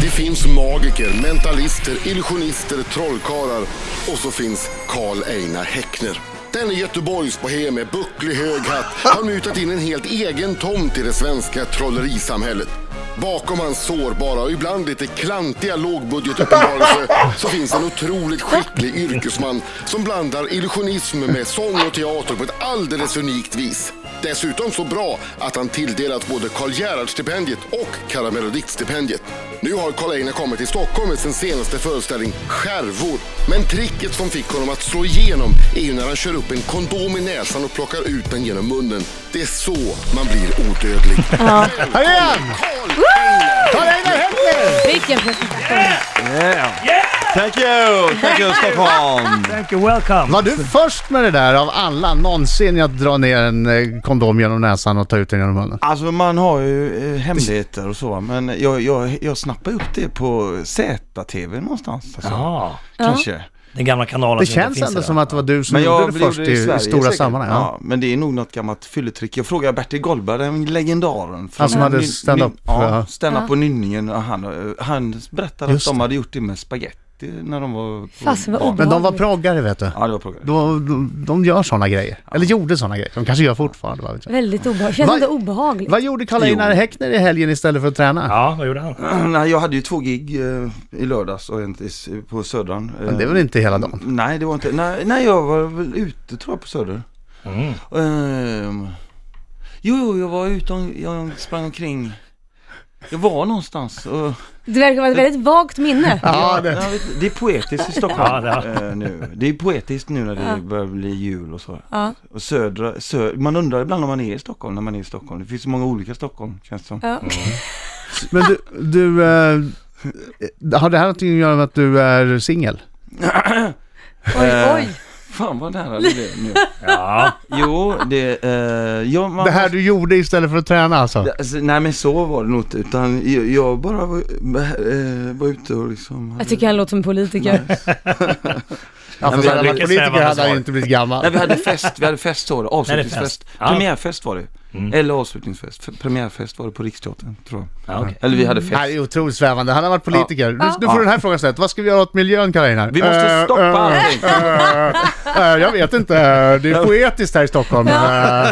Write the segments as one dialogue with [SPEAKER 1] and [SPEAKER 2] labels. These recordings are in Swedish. [SPEAKER 1] Det finns magiker, mentalister, illusionister, trollkarlar och så finns Karl Einar Häckner. Den är Göteborgs bohem med bucklig hög hatt har mutat in en helt egen tomt i det svenska trollerisamhället. Bakom hans sårbara och ibland lite klantiga lågbudgetuppenbarelse så finns en otroligt skicklig yrkesman som blandar illusionism med sång och teater på ett alldeles unikt vis. Dessutom så bra att han tilldelat både Karl Gerhard-stipendiet och Karamellodikt-stipendiet. Nu har Karl Einar kommit till Stockholm med sin senaste föreställning Skärvor. Men tricket som fick honom att slå igenom är ju när han kör upp en kondom i näsan och plockar ut den genom munnen. Det är så man blir odödlig. Ja.
[SPEAKER 2] Kom igen! Karl Einar Häckner!
[SPEAKER 3] Vilken presentation!
[SPEAKER 4] Thank you! Thank you Stockholm!
[SPEAKER 5] Thank you, welcome.
[SPEAKER 2] Var du först med det där av alla någonsin att dra ner en eh, kondom genom näsan och ta ut den genom munnen?
[SPEAKER 4] Alltså man har ju eh, hemligheter och så va, men jag, jag, jag snappade upp det på ZTV någonstans. Alltså.
[SPEAKER 5] Ja,
[SPEAKER 4] Kanske.
[SPEAKER 5] den gamla kanalen.
[SPEAKER 2] Det
[SPEAKER 5] som inte
[SPEAKER 2] känns
[SPEAKER 5] finns
[SPEAKER 2] ändå
[SPEAKER 5] idag.
[SPEAKER 2] som att det var du som
[SPEAKER 4] Men jag
[SPEAKER 2] Mm. gjorde det
[SPEAKER 4] blev
[SPEAKER 2] först i,
[SPEAKER 4] i Sverige
[SPEAKER 2] i stora
[SPEAKER 4] säkert.
[SPEAKER 2] sammanhang.
[SPEAKER 4] Ja.
[SPEAKER 2] Ja.
[SPEAKER 4] men det är nog något gammalt fylletrick. Jag frågade Bertil Goldberg, den legendaren. från
[SPEAKER 2] Han som hade
[SPEAKER 4] Nyn-
[SPEAKER 2] stand-up,
[SPEAKER 4] Nyn- Ja,
[SPEAKER 2] ja.
[SPEAKER 4] stand-up
[SPEAKER 3] Ja.
[SPEAKER 4] på Nynningen. Och han, eh, han berättade
[SPEAKER 2] Just
[SPEAKER 4] att de
[SPEAKER 2] det.
[SPEAKER 4] hade gjort det med spaghetti när de var på
[SPEAKER 3] Fasen, vad
[SPEAKER 4] barn.
[SPEAKER 2] Men de var proggare vet du.
[SPEAKER 4] Ja, det var proggare.
[SPEAKER 2] Då, de, de gör sådana grejer. Eller gjorde sådana grejer. De kanske gör fortfarande. Vad, vet jag.
[SPEAKER 3] Väldigt obehagligt. Känns
[SPEAKER 2] Vad-
[SPEAKER 3] inte obehagligt.
[SPEAKER 2] vad gjorde Karl Einar Häckner i helgen istället för att träna?
[SPEAKER 5] Ja, vad gjorde han?
[SPEAKER 4] Nej, jag hade ju två gig eh, i lördags och en tis- på Södran. eh,
[SPEAKER 2] Men det är väl inte hela dagen?
[SPEAKER 4] Nej, det var inte. Nej, nej jag var väl ute tror jag på Söder.
[SPEAKER 5] Mm.
[SPEAKER 4] Ehm, jo, jo, jag var ute och jag sprang omkring. Jag var någonstans. Och,
[SPEAKER 3] Det verkar vara ett väldigt vagt minne.
[SPEAKER 2] Ja, det,
[SPEAKER 4] jag vet, det är poetiskt i
[SPEAKER 5] Ja,
[SPEAKER 4] Stockholm
[SPEAKER 5] det har-
[SPEAKER 4] eh, nu. Det är poetiskt nu när det börjar bli jul och så.
[SPEAKER 3] Ja.
[SPEAKER 4] Och södra, sö, man undrar ibland om man är i Stockholm när man är i Stockholm. Det finns så många olika Stockholm känns det som.
[SPEAKER 3] Ja.
[SPEAKER 2] men du, du eh, har det här någonting att göra med att du är singel?
[SPEAKER 3] Oj,
[SPEAKER 4] Eh,
[SPEAKER 3] oj.
[SPEAKER 4] Fan vad nära det blev nu.
[SPEAKER 5] Ja,
[SPEAKER 4] Jo, det... Eh, ja, man,
[SPEAKER 2] Det här du gjorde istället för att träna alltså?
[SPEAKER 4] Det- Alltså, nej men så var det nog inte, utan jag, jag bara var, eh, var ute och liksom... hade-
[SPEAKER 3] Jag tycker han låter som en politiker.
[SPEAKER 2] Ja, för
[SPEAKER 4] men
[SPEAKER 2] hade han varit
[SPEAKER 5] vilket
[SPEAKER 2] politiker hade
[SPEAKER 5] svävande
[SPEAKER 2] han
[SPEAKER 5] svar.
[SPEAKER 2] inte blivit gammal.
[SPEAKER 4] Nej vi hade fest, vi hade fest så var det,
[SPEAKER 5] Nej,
[SPEAKER 4] avslutningsfest.
[SPEAKER 5] det är fest. Ja. Mm.
[SPEAKER 4] Premiärfest var det Eller avslutningsfest, F- premiärfest var det på Riksteatern tror jag.
[SPEAKER 5] ja okej.
[SPEAKER 4] Eller vi hade fest.
[SPEAKER 2] Det här är otroligt svävande. Han har varit politiker. Nu, nu får
[SPEAKER 4] Ja.
[SPEAKER 2] du den här frågan snett. Vad ska vi göra åt miljön, Carina?
[SPEAKER 4] Vi måste
[SPEAKER 2] Eh,
[SPEAKER 4] stoppa
[SPEAKER 2] eh,
[SPEAKER 4] allting.
[SPEAKER 2] eh, eh, jag vet inte. Det är poetiskt här i Stockholm. Eh,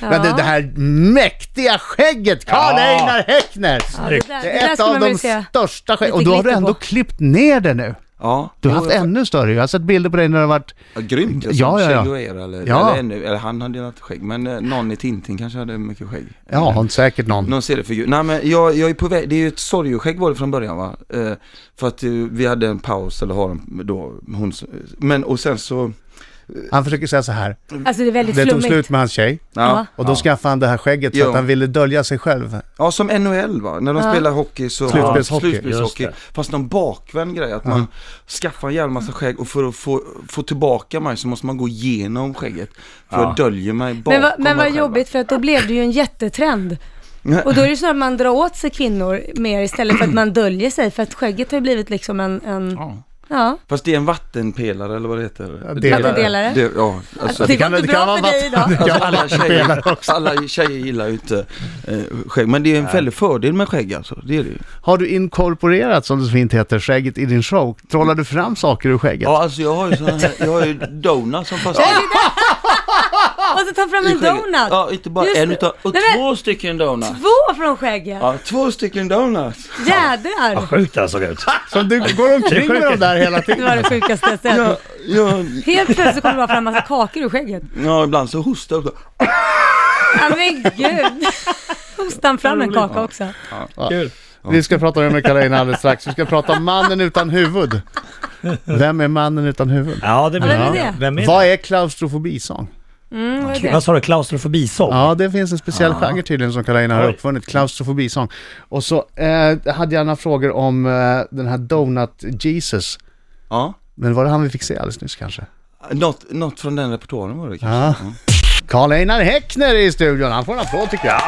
[SPEAKER 2] Men du, det här mäktiga skägget! Karl
[SPEAKER 5] Ja.
[SPEAKER 2] Einar Häckner!
[SPEAKER 3] Ja, det där, det
[SPEAKER 2] Det
[SPEAKER 3] där
[SPEAKER 2] är ett
[SPEAKER 3] skulle
[SPEAKER 2] av
[SPEAKER 3] man
[SPEAKER 2] de
[SPEAKER 3] vilja se.
[SPEAKER 2] största skäggen.
[SPEAKER 3] Lite
[SPEAKER 2] Och då har du
[SPEAKER 3] glitter
[SPEAKER 2] ändå
[SPEAKER 3] på.
[SPEAKER 2] klippt ner det nu.
[SPEAKER 4] Ja.
[SPEAKER 2] Du har
[SPEAKER 4] Jo,
[SPEAKER 2] haft
[SPEAKER 4] jag-
[SPEAKER 2] ännu större. Jag har sett bilder på dig när du har varit...
[SPEAKER 4] Ja, grymt alltså.
[SPEAKER 2] Ja, ja, ja.
[SPEAKER 4] Che Guevara eller,
[SPEAKER 2] Ja.
[SPEAKER 4] eller, ännu, eller han hade inte skägg, men eh, någon i Tintin kanske hade mycket skägg.
[SPEAKER 2] Ja, hon säkert någon.
[SPEAKER 4] Någon seriefigur. Nej men jag, jag är på väg, det är ju ett sorgeskägg var det från början va. Eh, för att eh, vi hade en paus, eller har en, då, hon, men och sen så,
[SPEAKER 2] Han försöker säga så här.
[SPEAKER 3] Alltså det är väldigt
[SPEAKER 2] Det tog
[SPEAKER 3] flummigt.
[SPEAKER 2] slut med hans tjej.
[SPEAKER 4] ja.
[SPEAKER 2] Och då skaffade han det här skägget för
[SPEAKER 4] Ja.
[SPEAKER 2] att han ville dölja sig själv.
[SPEAKER 4] Ja, som NHL va? När de spelar hockey så...
[SPEAKER 2] Slutspelshockey.
[SPEAKER 4] Ja, slutspelshockey.
[SPEAKER 5] Just
[SPEAKER 4] Fast någon bakvänd grej, att man skaffar en jävla massa skägg och för att få, få tillbaka mig så måste man gå igenom skägget. För jag döljer mig bakom
[SPEAKER 3] Men, va, men
[SPEAKER 4] mig
[SPEAKER 3] vad
[SPEAKER 4] själv, va?
[SPEAKER 3] jobbigt för att då blev det ju en jättetrend. Och då är det ju snarare att man drar åt sig kvinnor mer istället för att man döljer sig. För att skägget har ju blivit liksom en... en ja.
[SPEAKER 4] Ja. Fast det är en vattenpelare eller vad det heter.
[SPEAKER 2] Ja, delare.
[SPEAKER 3] Vattendelare.
[SPEAKER 4] Det, ja, alltså.
[SPEAKER 3] det
[SPEAKER 2] kan-
[SPEAKER 3] var
[SPEAKER 2] det
[SPEAKER 3] inte
[SPEAKER 2] kan
[SPEAKER 3] bra
[SPEAKER 2] vara
[SPEAKER 3] för dig
[SPEAKER 2] vatten-
[SPEAKER 3] idag.
[SPEAKER 4] Alltså, alla, tjejer, alla tjejer gillar ju inte eh, skägg, men det är en väldig fördel med skägg alltså, det är det ju.
[SPEAKER 2] Har du inkorporerat, som det så fint heter, skägget i din show? Trollar du fram saker ur skägget?
[SPEAKER 4] Ja alltså jag har ju såna här, jag har ju donuts som fast
[SPEAKER 3] Och så ta fram
[SPEAKER 4] i
[SPEAKER 3] en
[SPEAKER 4] skägget.
[SPEAKER 3] donut.
[SPEAKER 4] Ja, inte bara
[SPEAKER 3] Just
[SPEAKER 4] en
[SPEAKER 3] det.
[SPEAKER 4] utan, och
[SPEAKER 3] Nej, men-
[SPEAKER 4] två stycken donuts.
[SPEAKER 3] Två från skägget.
[SPEAKER 4] Ja, två stycken donuts.
[SPEAKER 5] Vad
[SPEAKER 3] Jädrar.
[SPEAKER 5] sjukt det här såg ut.
[SPEAKER 2] Som du går omkring med de där hela
[SPEAKER 3] Det var
[SPEAKER 2] tiden.
[SPEAKER 3] det sjukaste jag sett.
[SPEAKER 4] Ja, ja,
[SPEAKER 3] Helt plötsligt så kommer det bara fram massa kakor ur skägget.
[SPEAKER 4] ja, ibland så hostar jag.
[SPEAKER 3] Ja, men gud. Hostade han fram en kaka också? Mm,
[SPEAKER 5] Kul.
[SPEAKER 2] Vi ska prata med Carolina alldeles strax. Vi ska prata om mannen utan huvud. Vem är mannen utan huvud?
[SPEAKER 5] Ja, det blir
[SPEAKER 3] Ja, vem är
[SPEAKER 5] bra.
[SPEAKER 3] det?
[SPEAKER 5] Vem är
[SPEAKER 2] Vad är klaustrofobisång?
[SPEAKER 3] Mm, vad är
[SPEAKER 5] det?
[SPEAKER 3] det?
[SPEAKER 5] Vad sa du? Klaustrofobisång?
[SPEAKER 2] Ja, det finns en speciell genre tydligen som Carolina har
[SPEAKER 5] Oj.
[SPEAKER 2] uppfunnit, klaustrofobisång. Och så eh, hade jag några frågor om eh, den här Donut Jesus.
[SPEAKER 4] Ja,
[SPEAKER 2] Men var det han vi fick se alldeles nyss kanske?
[SPEAKER 4] något, något från den repertoaren var det kanske.
[SPEAKER 2] Ja. Karl Einar Häckner är i studion, han får en applåd tycker jag.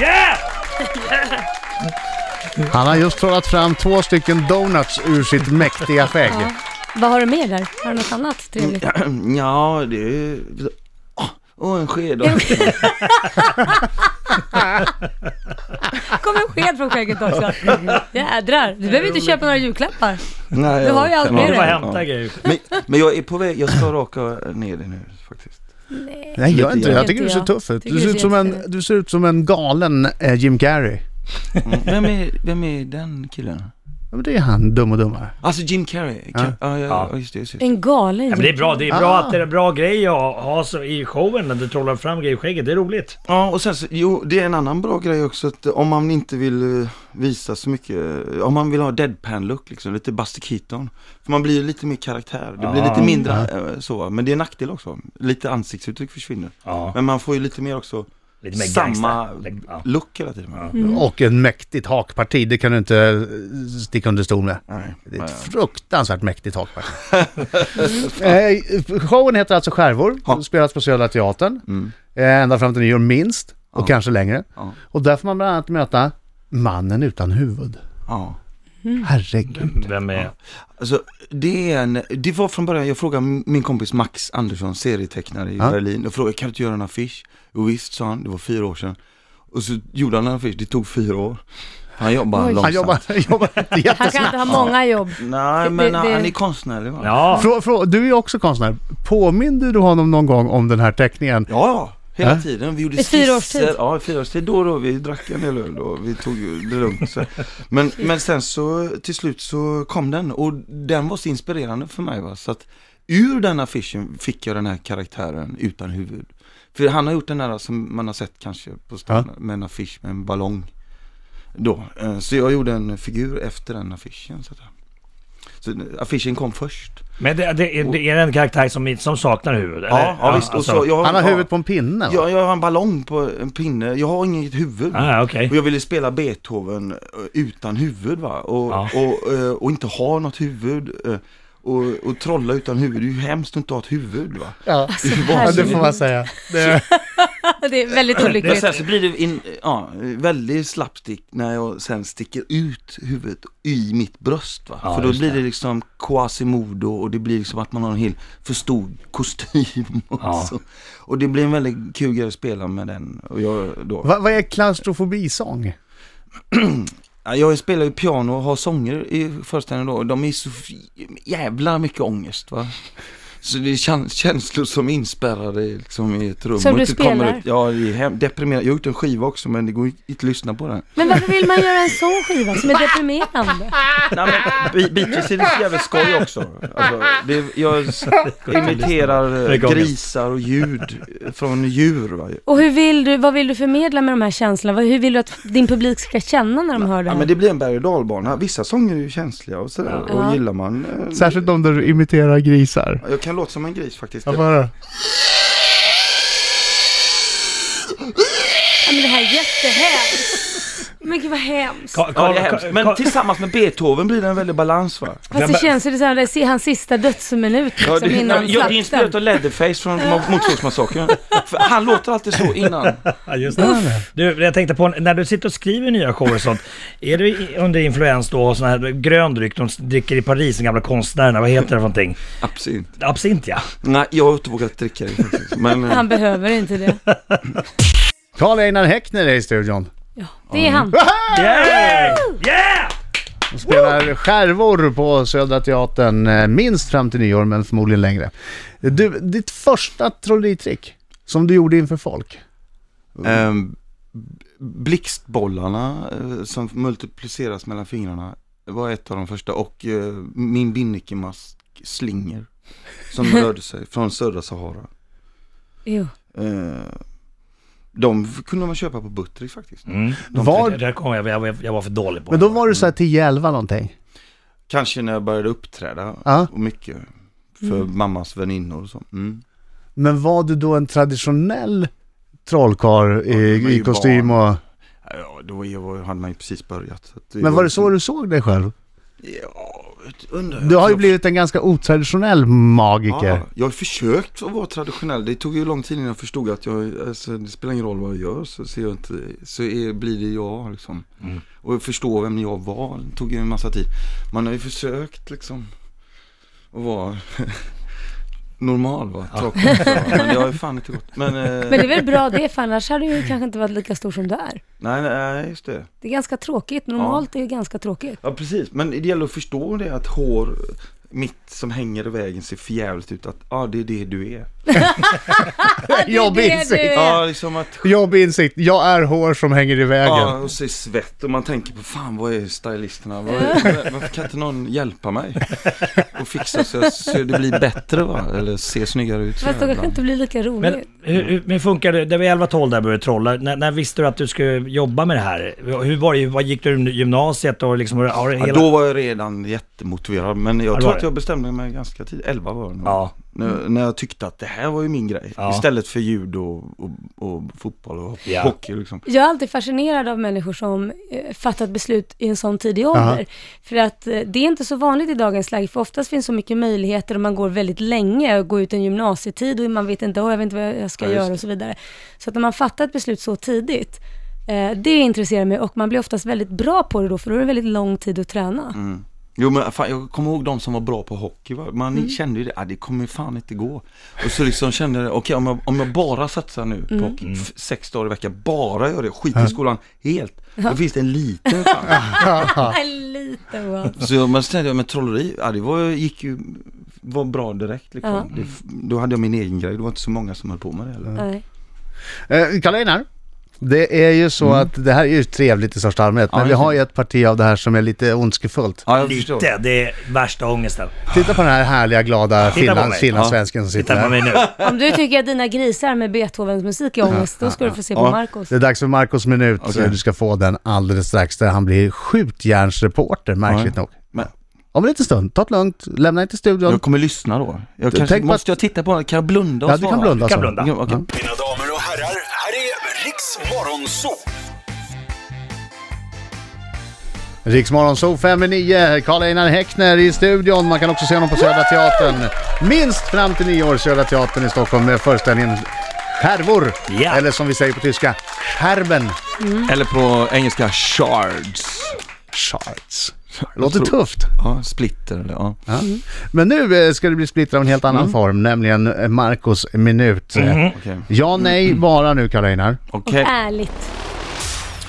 [SPEAKER 5] Yeah!
[SPEAKER 2] Han har just trollat fram två stycken donuts ur sitt mäktiga skägg.
[SPEAKER 3] Vad har du med där? Har du något annat trevligt?
[SPEAKER 4] Ja, det är... Åh, och en sked.
[SPEAKER 3] kom en sked från skägget också. Jädrar. Du behöver inte köpa några julklappar.
[SPEAKER 4] Nej,
[SPEAKER 3] Du har ju allt med
[SPEAKER 5] Du
[SPEAKER 3] dig.
[SPEAKER 5] får
[SPEAKER 4] Ja.
[SPEAKER 5] hämta grejer.
[SPEAKER 4] Men, men jag är på väg, jag ska raka ner det nu faktiskt.
[SPEAKER 2] Nej, gör
[SPEAKER 4] Lite
[SPEAKER 2] inte det. Jag
[SPEAKER 3] grann.
[SPEAKER 2] tycker du ser
[SPEAKER 3] Tycker
[SPEAKER 2] tuff ut.
[SPEAKER 3] jag.
[SPEAKER 2] Du ser ut som en, du ser ut som en galen eh, Jim Carrey.
[SPEAKER 4] Mm. Vem, är, vem är den killen?
[SPEAKER 2] Ja, men det är han, dum och dummare.
[SPEAKER 4] Alltså Jim Carrey? Ja, ja, ja, ja just det. Just det.
[SPEAKER 3] En galen
[SPEAKER 5] Ja, men det är bra, det är bra
[SPEAKER 2] Ah.
[SPEAKER 5] att det är en bra grej att ha- ha så i showen när du trollar fram grejer i skägget. Det är roligt.
[SPEAKER 4] Ja, och sen så, jo, det är en annan bra grej också att om man inte vill eh, visa så mycket, eh, om man vill ha deadpan-look liksom, lite Buster Keaton. För man blir ju lite mer karaktär, det blir
[SPEAKER 5] Ja.
[SPEAKER 4] lite mindre eh, så, men det är en nackdel också. Lite ansiktsuttryck försvinner.
[SPEAKER 5] Ja.
[SPEAKER 4] Men man får ju lite mer också
[SPEAKER 5] Lite mer
[SPEAKER 4] samma
[SPEAKER 5] gangster. Ja.
[SPEAKER 4] look hela tiden.
[SPEAKER 2] Och ett mäktigt hakparti, det kan du inte eh, sticka under stol med.
[SPEAKER 4] Nej.
[SPEAKER 2] Det är
[SPEAKER 4] Ja,
[SPEAKER 2] ett fruktansvärt mäktigt hakparti. eh, showen heter alltså Skärvor,
[SPEAKER 4] Ja.
[SPEAKER 2] spelas på Södra Teatern.
[SPEAKER 4] Mm.
[SPEAKER 2] Eh, ända fram till nyår minst, och kanske längre.
[SPEAKER 4] Ja.
[SPEAKER 2] Och där får man bland annat möta mannen utan huvud.
[SPEAKER 4] ja.
[SPEAKER 2] Mm. Herregud.
[SPEAKER 5] Vem är...
[SPEAKER 4] Alltså, det, är en, det var från början, jag frågade min kompis Max Andersson, serietecknare i
[SPEAKER 2] Ja.
[SPEAKER 4] Berlin, jag frågade kan du inte göra en affisch? Jo visst, sa han, det var fyra år sedan. Och så gjorde han en affisch, det tog fyra år. Han jobbar långsamt.
[SPEAKER 2] Han jobbar, han jobbar inte
[SPEAKER 3] Han kan
[SPEAKER 2] jättesnabbt.
[SPEAKER 3] inte ha många jobb.
[SPEAKER 4] Nej,
[SPEAKER 3] Det-
[SPEAKER 4] men
[SPEAKER 3] det-
[SPEAKER 4] han,
[SPEAKER 3] det-
[SPEAKER 4] han är konstnärlig va?
[SPEAKER 5] Ja,
[SPEAKER 2] Frå, frå, du är ju också konstnär. Påminner du honom någon gång om den här teckningen?
[SPEAKER 4] Ja, ja. Hela
[SPEAKER 2] Ja.
[SPEAKER 4] tiden. Vi gjorde
[SPEAKER 3] I fyra års tid?
[SPEAKER 4] skisser. Ja, i fyra års tid. Då och då. Vi drack en del öl och vi tog ju det lugnt. Så. Men, men sen så till slut så kom den och den var så inspirerande för mig. Va? Så att ur den affischen fick jag den här karaktären utan huvud. För han har gjort den här som man har sett kanske på stan med en affisch med en ballong. Då. Eh, Så jag gjorde en figur efter den affischen. Så, att, så affischen kom först.
[SPEAKER 5] men det, det, är, det är en karaktär som, som saknar huvud? eller?
[SPEAKER 4] Ja, ja, visst. Och
[SPEAKER 5] alltså.
[SPEAKER 4] så, jag,
[SPEAKER 2] Han har
[SPEAKER 4] ja.
[SPEAKER 2] huvudet på en pinne. va?
[SPEAKER 4] Jag, jag har en ballong på en pinne, jag har inget huvud.
[SPEAKER 5] Ah, okej.
[SPEAKER 4] Och jag ville spela Beethoven eh, utan huvud va? Och,
[SPEAKER 5] Ja.
[SPEAKER 4] och, eh, och inte ha något huvud. eh, Och, och trolla utan huvud, det är ju hemskt att inte ha ett huvud va?
[SPEAKER 2] Ja.
[SPEAKER 4] Ja,
[SPEAKER 2] det får man säga. Det,
[SPEAKER 3] Det är väldigt
[SPEAKER 4] Men
[SPEAKER 3] olyckligt.
[SPEAKER 4] sen så blir det in, ja, väldigt slapstick när jag sen sticker ut huvudet i mitt bröst va?
[SPEAKER 5] Ja,
[SPEAKER 4] För då
[SPEAKER 5] just
[SPEAKER 4] blir det,
[SPEAKER 5] det.
[SPEAKER 4] liksom Quasimodo och det blir liksom att man har en hel för stor kostym och
[SPEAKER 5] Ja.
[SPEAKER 4] så. Och det blir en väldigt kul grej att spela med den. Och jag, då,
[SPEAKER 2] vad, vad är klaustrofobisång?
[SPEAKER 4] Ja, Jag spelar ju piano och har sånger i föreställningen då. De är så f- jävla mycket ångest va. Så det är kän- känslor som är inspärrade i- liksom, i ett rum.
[SPEAKER 3] Som
[SPEAKER 4] och
[SPEAKER 3] du
[SPEAKER 4] inte kommer
[SPEAKER 3] spelar?
[SPEAKER 4] ut. Ja, det är hem- deprimerande. Jag har gjort en skiva också men det går ju inte att lyssna på den.
[SPEAKER 3] Men varför vill man göra en sån skiva som är deprimerande?
[SPEAKER 4] Nej men bi- bitvis är det så jävla skoj också. Alltså, det, jag s- imiterar eh,
[SPEAKER 5] Mycket ångest.
[SPEAKER 4] grisar och ljud från djur va.
[SPEAKER 3] Och hur vill du, vad vill du förmedla med de här känslorna? Vad- Hur vill du att din publik ska känna när de hör det
[SPEAKER 4] Ja men
[SPEAKER 3] här?
[SPEAKER 4] det blir en berg och dalbana. Vissa sånger är ju känsliga och sådär. Och
[SPEAKER 3] Ja.
[SPEAKER 4] gillar man. eh,
[SPEAKER 2] Särskilt om du imiterar grisar.
[SPEAKER 4] Jag kan låta som en gris faktiskt.
[SPEAKER 2] Jag får höra.
[SPEAKER 3] Ja, men det här är jättehemskt. Men gud vad hemskt.
[SPEAKER 5] Ka-
[SPEAKER 4] Ja,
[SPEAKER 5] Karl-
[SPEAKER 4] det är hemskt. Men
[SPEAKER 5] Karl-
[SPEAKER 4] tillsammans med Beethoven blir det en väldig balans va?
[SPEAKER 3] Fast det känns ju det så här, det är hans sista dödsminut liksom,
[SPEAKER 4] Ja, det,
[SPEAKER 3] innan
[SPEAKER 4] jag är inspirerat
[SPEAKER 3] slakten.
[SPEAKER 4] av Leatherface från Mo- Motorsågsmassakern. För Han låter alltid så innan.
[SPEAKER 5] Ja, just det. Du, jag tänkte på, när du sitter och skriver nya shower och sånt, är du i- under influens då av sån här grön dryck de dricker i Paris, de gamla konstnärerna, vad heter det för någonting?
[SPEAKER 4] Absint.
[SPEAKER 5] Absint ja.
[SPEAKER 4] Nej, jag har inte vågat dricka det faktiskt. Men, eh,
[SPEAKER 3] Han behöver inte det.
[SPEAKER 2] Karl-Einar Häckner är i studion.
[SPEAKER 3] Ja, det är han.
[SPEAKER 5] Yeah! Yeah!
[SPEAKER 2] Han spelar skärvor på Södra Teatern, eh, minst fram till nyår men förmodligen längre. Du, ditt första trolleritrick som du gjorde inför folk.
[SPEAKER 4] ehm, b- blixtbollarna eh, som multipliceras mellan fingrarna var ett av de första och eh, min binnikemask slinger som rörde sig från södra Sahara.
[SPEAKER 3] Jo.
[SPEAKER 4] Eh, de f- kunde man köpa på Buttrick faktiskt.
[SPEAKER 5] Mm.
[SPEAKER 2] Var-
[SPEAKER 5] Det där kom jag, jag, var- jag var för dålig på.
[SPEAKER 2] Men då var du så här 10-11 någonting.
[SPEAKER 4] Kanske när jag började uppträda
[SPEAKER 2] Ja. Mm.
[SPEAKER 4] och mycket för mammas väninnor och så. Mm.
[SPEAKER 2] Men var du då en traditionell trollkarl
[SPEAKER 4] Ja,
[SPEAKER 2] i, i
[SPEAKER 4] ju
[SPEAKER 2] kostym och...
[SPEAKER 4] Ja, då var jag- hade man ju precis börjat. Så att liksom-
[SPEAKER 2] Men var det så du såg dig själv?
[SPEAKER 4] Ja, undrar
[SPEAKER 2] Du har ju blivit en ganska otraditionell magiker.
[SPEAKER 4] Ja, jag har försökt att vara traditionell. Det tog ju lång tid innan jag förstod att jag, alltså, det spelar ingen roll vad jag gör så ser jag inte, så är, blir det jag liksom.
[SPEAKER 2] Mm.
[SPEAKER 4] Och förstå vem jag var, det tog ju en massa tid. Man har ju försökt liksom att vara normal va? Tråkigt. Ja. Men det har ju fan inte gått. Men, eh,
[SPEAKER 3] Men det är väl bra det, för annars hade du ju kanske inte varit lika stor som du är.
[SPEAKER 4] nej, nej, just det.
[SPEAKER 3] Det är ganska tråkigt. Normalt är det ganska tråkigt.
[SPEAKER 4] Ja, precis. Men det gäller att förstå det att hår mitt som hänger i vägen ser förjävligt ut. Att ja, det är det du är.
[SPEAKER 2] Jobbig
[SPEAKER 3] det du
[SPEAKER 2] insikt.
[SPEAKER 3] är.
[SPEAKER 4] Ja, liksom att
[SPEAKER 2] Jobbig insikt. Jag är hår som hänger i vägen.
[SPEAKER 4] Ja, och så är svett och man tänker på fan vad är stylisterna? Vad är, varför kan inte någon hjälpa mig? Och fixa så, jag, så det blir bättre va? Eller ser snyggare ut. så
[SPEAKER 3] Fast då kanske
[SPEAKER 4] här ibland.
[SPEAKER 3] inte blir lika
[SPEAKER 5] Men
[SPEAKER 3] roligt.
[SPEAKER 5] hur, hur, men funkar det, det var 11-12 där du började trolla. När, när visste du att du skulle jobba med det här? Hur var det, vad gick du i gymnasiet och liksom, har du
[SPEAKER 4] Ja,
[SPEAKER 5] hela...
[SPEAKER 4] då var jag redan jättemotiverad men jag
[SPEAKER 5] det
[SPEAKER 4] tror
[SPEAKER 5] var
[SPEAKER 4] att
[SPEAKER 5] det.
[SPEAKER 4] jag bestämde mig ganska tidigt, 11 var det nog.
[SPEAKER 5] Ja.
[SPEAKER 4] När, när jag tyckte att det här var ju min grej.
[SPEAKER 5] Ja.
[SPEAKER 4] Istället för judo och, och, och fotboll och
[SPEAKER 5] Ja.
[SPEAKER 4] hockey liksom.
[SPEAKER 3] Jag är alltid fascinerad av människor som eh, fattat beslut i en sån tidig ålder.
[SPEAKER 2] Aha.
[SPEAKER 3] För att eh, det är inte så vanligt i dagens läge, för oftast finns så mycket möjligheter och man går väldigt länge och går ut en gymnasietid och man vet inte, åh jag vet inte vad jag ska
[SPEAKER 4] Ja, just
[SPEAKER 3] göra och så vidare. Så att när man fattar ett beslut så tidigt, eh, det intresserar mig och man blir oftast väldigt bra på det då, för då är det väldigt lång tid att träna.
[SPEAKER 4] Mm. Jo men fan, jag kommer ihåg de som var bra på hockey. Va? Man kände ju det, ah, det kommer fan inte gå. Och så liksom kände jag, okej om, jag, om jag bara satsar nu på hockey,
[SPEAKER 2] Mm.
[SPEAKER 4] f- sex dagar i veckan, bara gör det, skit i skolan helt. Då finns det en liten chans.
[SPEAKER 3] Lite va?
[SPEAKER 4] Så jag, men så tänkte jag, men trolleri, ah, det var, gick ju, var bra direkt liksom.
[SPEAKER 3] Ja.
[SPEAKER 4] Det, f- då hade jag min egen grej, det var inte så många som höll på med det heller.
[SPEAKER 3] Nej.
[SPEAKER 2] Eh, Karl-Einar, det är ju så att det här är ju trevligt i största allmänhet,
[SPEAKER 4] Mm. Ja,
[SPEAKER 2] men vi
[SPEAKER 4] just
[SPEAKER 2] har ju ett parti av det här som är lite ondskefullt.
[SPEAKER 4] Ja, jag förstår.
[SPEAKER 5] Lite, det är värsta ångesten.
[SPEAKER 2] Titta på den här härliga, glada
[SPEAKER 5] Titta på
[SPEAKER 2] finlands-
[SPEAKER 5] mig.
[SPEAKER 2] finlandssvensken som sitter
[SPEAKER 5] Titta på
[SPEAKER 2] här.
[SPEAKER 5] mig nu.
[SPEAKER 3] Om du tycker att dina grisar med Beethovens musik är ångest, då ska du få se på
[SPEAKER 4] Ja.
[SPEAKER 3] Marcos.
[SPEAKER 2] Det är dags för Marcos minut,
[SPEAKER 4] Okej.
[SPEAKER 2] du ska få den alldeles strax, där han blir skjutjärnsreporter, märkligt
[SPEAKER 4] Ja.
[SPEAKER 2] nog.
[SPEAKER 4] Men-
[SPEAKER 2] Om en liten stund, ta det lugnt, lämna inte studion.
[SPEAKER 4] Jag kommer lyssna då. Jag kanske,
[SPEAKER 2] tänk på
[SPEAKER 4] måste jag titta på, kan jag blunda och
[SPEAKER 2] Ja, du kan
[SPEAKER 4] svara?
[SPEAKER 2] blunda.
[SPEAKER 5] Du kan
[SPEAKER 2] så.
[SPEAKER 5] blunda.
[SPEAKER 4] Ja, okej.
[SPEAKER 6] Mina damer och herrar, här är Riks Morgonzoo!
[SPEAKER 2] Riksmorgon, så 5 i 9, Karl-Einar Häckner i studion. Man kan också se honom på Södra Teatern. Minst fram till nyår, Södra Teatern i Stockholm med föreställningen Skärvor.
[SPEAKER 5] Ja.
[SPEAKER 2] Eller som vi säger på tyska, Skärben
[SPEAKER 4] Eller på engelska, shards.
[SPEAKER 2] Charts. Låter
[SPEAKER 4] Jag tror-
[SPEAKER 2] tufft.
[SPEAKER 4] Ja, splitter eller ja.
[SPEAKER 2] Men nu eh, ska det bli splitter av en helt
[SPEAKER 5] Mm.
[SPEAKER 2] annan form, nämligen eh, Marcos minut. Eh,
[SPEAKER 5] Mm-hmm.
[SPEAKER 4] Okej.
[SPEAKER 2] Ja, nej, bara nu Karl-Einar.
[SPEAKER 3] Och
[SPEAKER 4] Okej.
[SPEAKER 3] ärligt.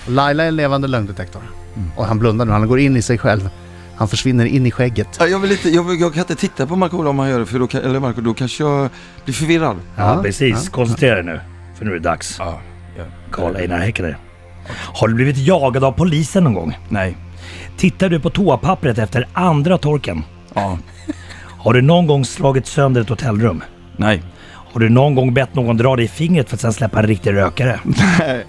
[SPEAKER 2] Laila är en levande lögndetektor.
[SPEAKER 5] Mm.
[SPEAKER 2] Och han blundar nu, han går in i sig själv. Han försvinner in i skägget.
[SPEAKER 4] Ja, Jag, vill inte, jag, vill, jag kan inte titta på Marco om han gör det, för då, kan, eller Marco, då kanske jag blir förvirrad.
[SPEAKER 5] Ja, precis. Koncentrera dig nu. För nu är det dags.
[SPEAKER 4] Ja.
[SPEAKER 5] Karl Einar Häckner. Har du blivit jagad av polisen någon gång?
[SPEAKER 4] Nej.
[SPEAKER 5] Tittar du på toapappret efter andra torken?
[SPEAKER 4] Ja.
[SPEAKER 5] Har du någon gång slagit sönder ett hotellrum?
[SPEAKER 4] Nej.
[SPEAKER 5] Har du någon gång bett någon dra dig i fingret för att sen släppa en riktig rökare?
[SPEAKER 4] Nej.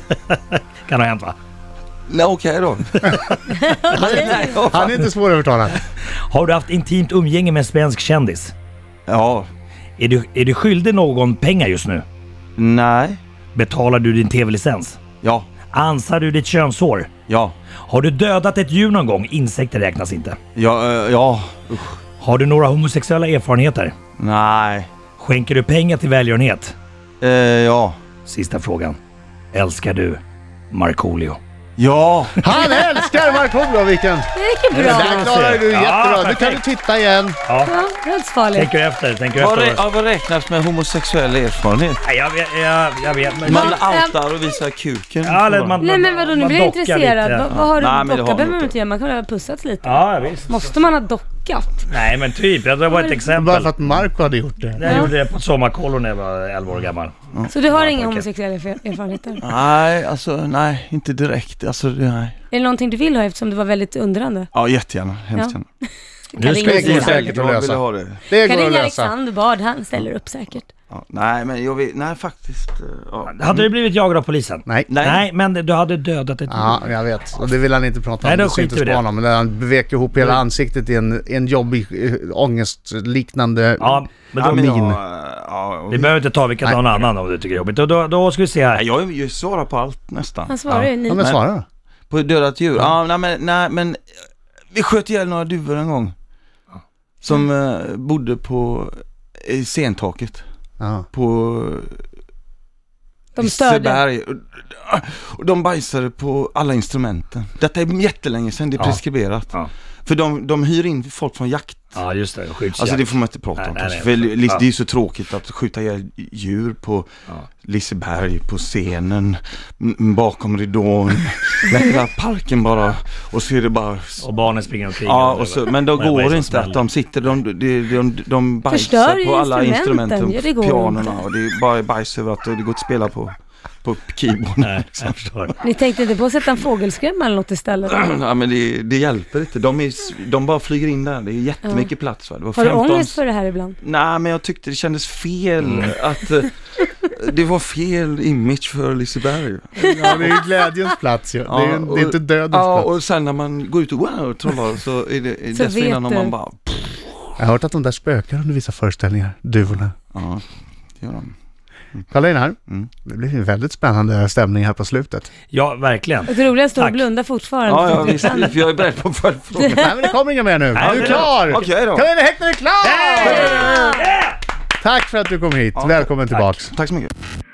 [SPEAKER 5] Kan ha hänt va?
[SPEAKER 4] Nej, okej då.
[SPEAKER 2] Han är inte svårövertalad.
[SPEAKER 5] Har du haft intimt umgänge med en svensk kändis?
[SPEAKER 4] Ja.
[SPEAKER 5] Är du, är du skyldig någon pengar just nu?
[SPEAKER 4] Nej.
[SPEAKER 5] Betalar du din tv-licens?
[SPEAKER 4] Ja.
[SPEAKER 5] Ansar du ditt könshår?
[SPEAKER 4] Ja.
[SPEAKER 5] Har du dödat ett djur någon gång? Insekter räknas inte.
[SPEAKER 4] Ja. eh, ja. Usch.
[SPEAKER 5] Har du några homosexuella erfarenheter?
[SPEAKER 4] Nej.
[SPEAKER 5] Skänker du pengar till välgörenhet?
[SPEAKER 4] Eh, ja.
[SPEAKER 5] Sista frågan. Älskar du Markoolio?
[SPEAKER 4] Ja.
[SPEAKER 2] Han älskar Markoolio, vilken...
[SPEAKER 3] Det gick
[SPEAKER 2] Det
[SPEAKER 3] ju bra.
[SPEAKER 2] där klarar du
[SPEAKER 5] Ja,
[SPEAKER 2] jättebra. Nu kan du
[SPEAKER 5] perfekt.
[SPEAKER 2] titta igen.
[SPEAKER 5] Ja,
[SPEAKER 3] Ja, dödsfarligt.
[SPEAKER 5] tänker efter, tänker
[SPEAKER 4] Vad, rä-
[SPEAKER 5] efter.
[SPEAKER 4] ja, vad räknas med homosexuell erfarenhet?
[SPEAKER 5] Nej, jag vet, jag, jag vet men...
[SPEAKER 4] Man outar och visar kuken.
[SPEAKER 5] Ja, eller man-
[SPEAKER 3] Nej men vadå, nu
[SPEAKER 5] Man
[SPEAKER 3] blir jag
[SPEAKER 5] dockar
[SPEAKER 3] intresserad.
[SPEAKER 5] lite.
[SPEAKER 3] Vad, vad har du
[SPEAKER 4] Nej, men det
[SPEAKER 3] dockat?
[SPEAKER 4] har man
[SPEAKER 3] behöver man
[SPEAKER 4] inte.
[SPEAKER 3] inte göra, man kan väl ha pussats lite.
[SPEAKER 5] Ja, visst.
[SPEAKER 3] Måste man ha dockat?
[SPEAKER 5] Nej, men typ. Det var ett
[SPEAKER 2] Bara
[SPEAKER 5] exempel.
[SPEAKER 2] för att Marco hade gjort det.
[SPEAKER 5] Jag gjorde det på ett sommarkollo när jag var 11 år gammal.
[SPEAKER 3] Så du har inga
[SPEAKER 5] okej.
[SPEAKER 3] homosexuella erf- erfarenheter?
[SPEAKER 4] Nej, alltså nej, inte direkt. Alltså, det- nej.
[SPEAKER 3] Är det någonting du vill ha eftersom du var väldigt undrande?
[SPEAKER 4] Ja, jättegärna. Hemskt
[SPEAKER 3] Ja.
[SPEAKER 4] gärna.
[SPEAKER 5] Nu
[SPEAKER 3] ringa
[SPEAKER 2] Det
[SPEAKER 5] ska
[SPEAKER 2] går
[SPEAKER 5] vi
[SPEAKER 3] Alexander.
[SPEAKER 2] säkert att
[SPEAKER 4] Jag vill
[SPEAKER 2] lösa.
[SPEAKER 4] ha det.
[SPEAKER 2] Det
[SPEAKER 3] Kan
[SPEAKER 2] går att
[SPEAKER 3] ringa
[SPEAKER 2] lösa.
[SPEAKER 3] Alexander Bard, han ställer upp säkert.
[SPEAKER 4] Ja, nej, men jag vet, nej faktiskt. eh, Ja.
[SPEAKER 5] Hade du blivit jagad av polisen?
[SPEAKER 2] Nej.
[SPEAKER 4] Nej.
[SPEAKER 5] Nej, men du hade dödat ett djur.
[SPEAKER 2] Ja, jag vet. Och det vill han inte prata om.
[SPEAKER 5] Nej, då
[SPEAKER 2] det ska
[SPEAKER 5] skiter
[SPEAKER 2] inte
[SPEAKER 5] vi i det.
[SPEAKER 2] spana om. Men han vek ihop hela ansiktet i en, en jobbig äh, ångestliknande...
[SPEAKER 5] Ja, men då,
[SPEAKER 4] Ja, men jag,
[SPEAKER 2] min.
[SPEAKER 4] ja, och-
[SPEAKER 5] vi behöver inte ta vilket
[SPEAKER 2] Nej.
[SPEAKER 5] någon annan om du tycker det är jobbigt. Och då, då ska vi se här.
[SPEAKER 4] Nej, jag, jag svarar på allt nästan.
[SPEAKER 3] Han svarar ju
[SPEAKER 2] Ja,
[SPEAKER 3] ni.
[SPEAKER 2] men svara då.
[SPEAKER 4] På dödat djur? Ja, nej men, nej men eh, vi sköt ihjäl några duvor en gång. Som eh, bodde på eh, scentaket
[SPEAKER 2] Ja.
[SPEAKER 4] på
[SPEAKER 3] De störde.
[SPEAKER 4] Liseberg. Och- Och de bajsade på alla instrumenten. Detta är jättelänge sedan, det är
[SPEAKER 5] Ja.
[SPEAKER 4] preskriberat.
[SPEAKER 5] Ja.
[SPEAKER 4] För de, de hyr in folk från jakt,
[SPEAKER 5] Ja, just det. Skyddsjakt.
[SPEAKER 4] Alltså det får man inte prata
[SPEAKER 5] Nej,
[SPEAKER 4] om
[SPEAKER 5] nej,
[SPEAKER 4] kanske.
[SPEAKER 5] nej.
[SPEAKER 4] För li- li-
[SPEAKER 5] Ja.
[SPEAKER 4] det är ju så tråkigt att skjuta ihjäl djur på Liseberg, på scenen, m- bakom ridån, när hela parken bara, och så är det bara...
[SPEAKER 5] Och barnen springer omkring.
[SPEAKER 4] Ja, och så, men då
[SPEAKER 5] Men vad är
[SPEAKER 4] går
[SPEAKER 5] det
[SPEAKER 4] det
[SPEAKER 5] som
[SPEAKER 4] inte att de sitter, de, de, de,
[SPEAKER 3] Förstör
[SPEAKER 4] de bajsar
[SPEAKER 3] ju
[SPEAKER 4] på alla
[SPEAKER 3] instrumenten.
[SPEAKER 4] instrumenten,
[SPEAKER 3] Ja, det går
[SPEAKER 4] pianorna
[SPEAKER 3] inte.
[SPEAKER 4] och det är bara bajs över att det går att spela på, på keyboarden. liksom.
[SPEAKER 5] Nej, jag förstår.
[SPEAKER 3] Ni tänkte inte på att sätta en fågelskrämma eller något istället?
[SPEAKER 4] Ja men det, det hjälper inte, de, är, s- de bara flyger in där, det är jättemycket plats va? Det var
[SPEAKER 3] Har du
[SPEAKER 4] 15
[SPEAKER 3] ångest för det här ibland?
[SPEAKER 4] Nej, men jag tyckte det kändes fel
[SPEAKER 2] Mm.
[SPEAKER 4] att eh, det var fel image för Liseberg.
[SPEAKER 2] Ja, det är ju glädjens plats ju. det, är ju, det är inte dödens
[SPEAKER 4] Ja,
[SPEAKER 2] plats.
[SPEAKER 4] och sen när man går ut och wow, trollar så är det
[SPEAKER 3] Så
[SPEAKER 4] dessförinnan
[SPEAKER 3] vet
[SPEAKER 4] har man
[SPEAKER 3] du.
[SPEAKER 4] bara... Pff,
[SPEAKER 2] Jag har hört att de där spökar under vissa föreställningar, duvorna.
[SPEAKER 4] ja, det gör de.
[SPEAKER 2] Kolla in här.
[SPEAKER 4] Mm.
[SPEAKER 2] Det blir en väldigt spännande stämning här på slutet.
[SPEAKER 5] Ja, verkligen.
[SPEAKER 3] Det roliga är att stå och
[SPEAKER 5] Tack.
[SPEAKER 3] blunda fortfarande.
[SPEAKER 4] Ja, ja visst, för jag är beredd på följdfrågor.
[SPEAKER 2] Nej, men det kommer inga mer nu.
[SPEAKER 5] Nej,
[SPEAKER 2] du är
[SPEAKER 5] det-
[SPEAKER 2] klar!
[SPEAKER 4] Okej då.
[SPEAKER 2] Karolina Häckner är klar!
[SPEAKER 5] Hey!
[SPEAKER 2] Tack för att du kom hit. Välkommen tillbaks.
[SPEAKER 4] Tack så mycket.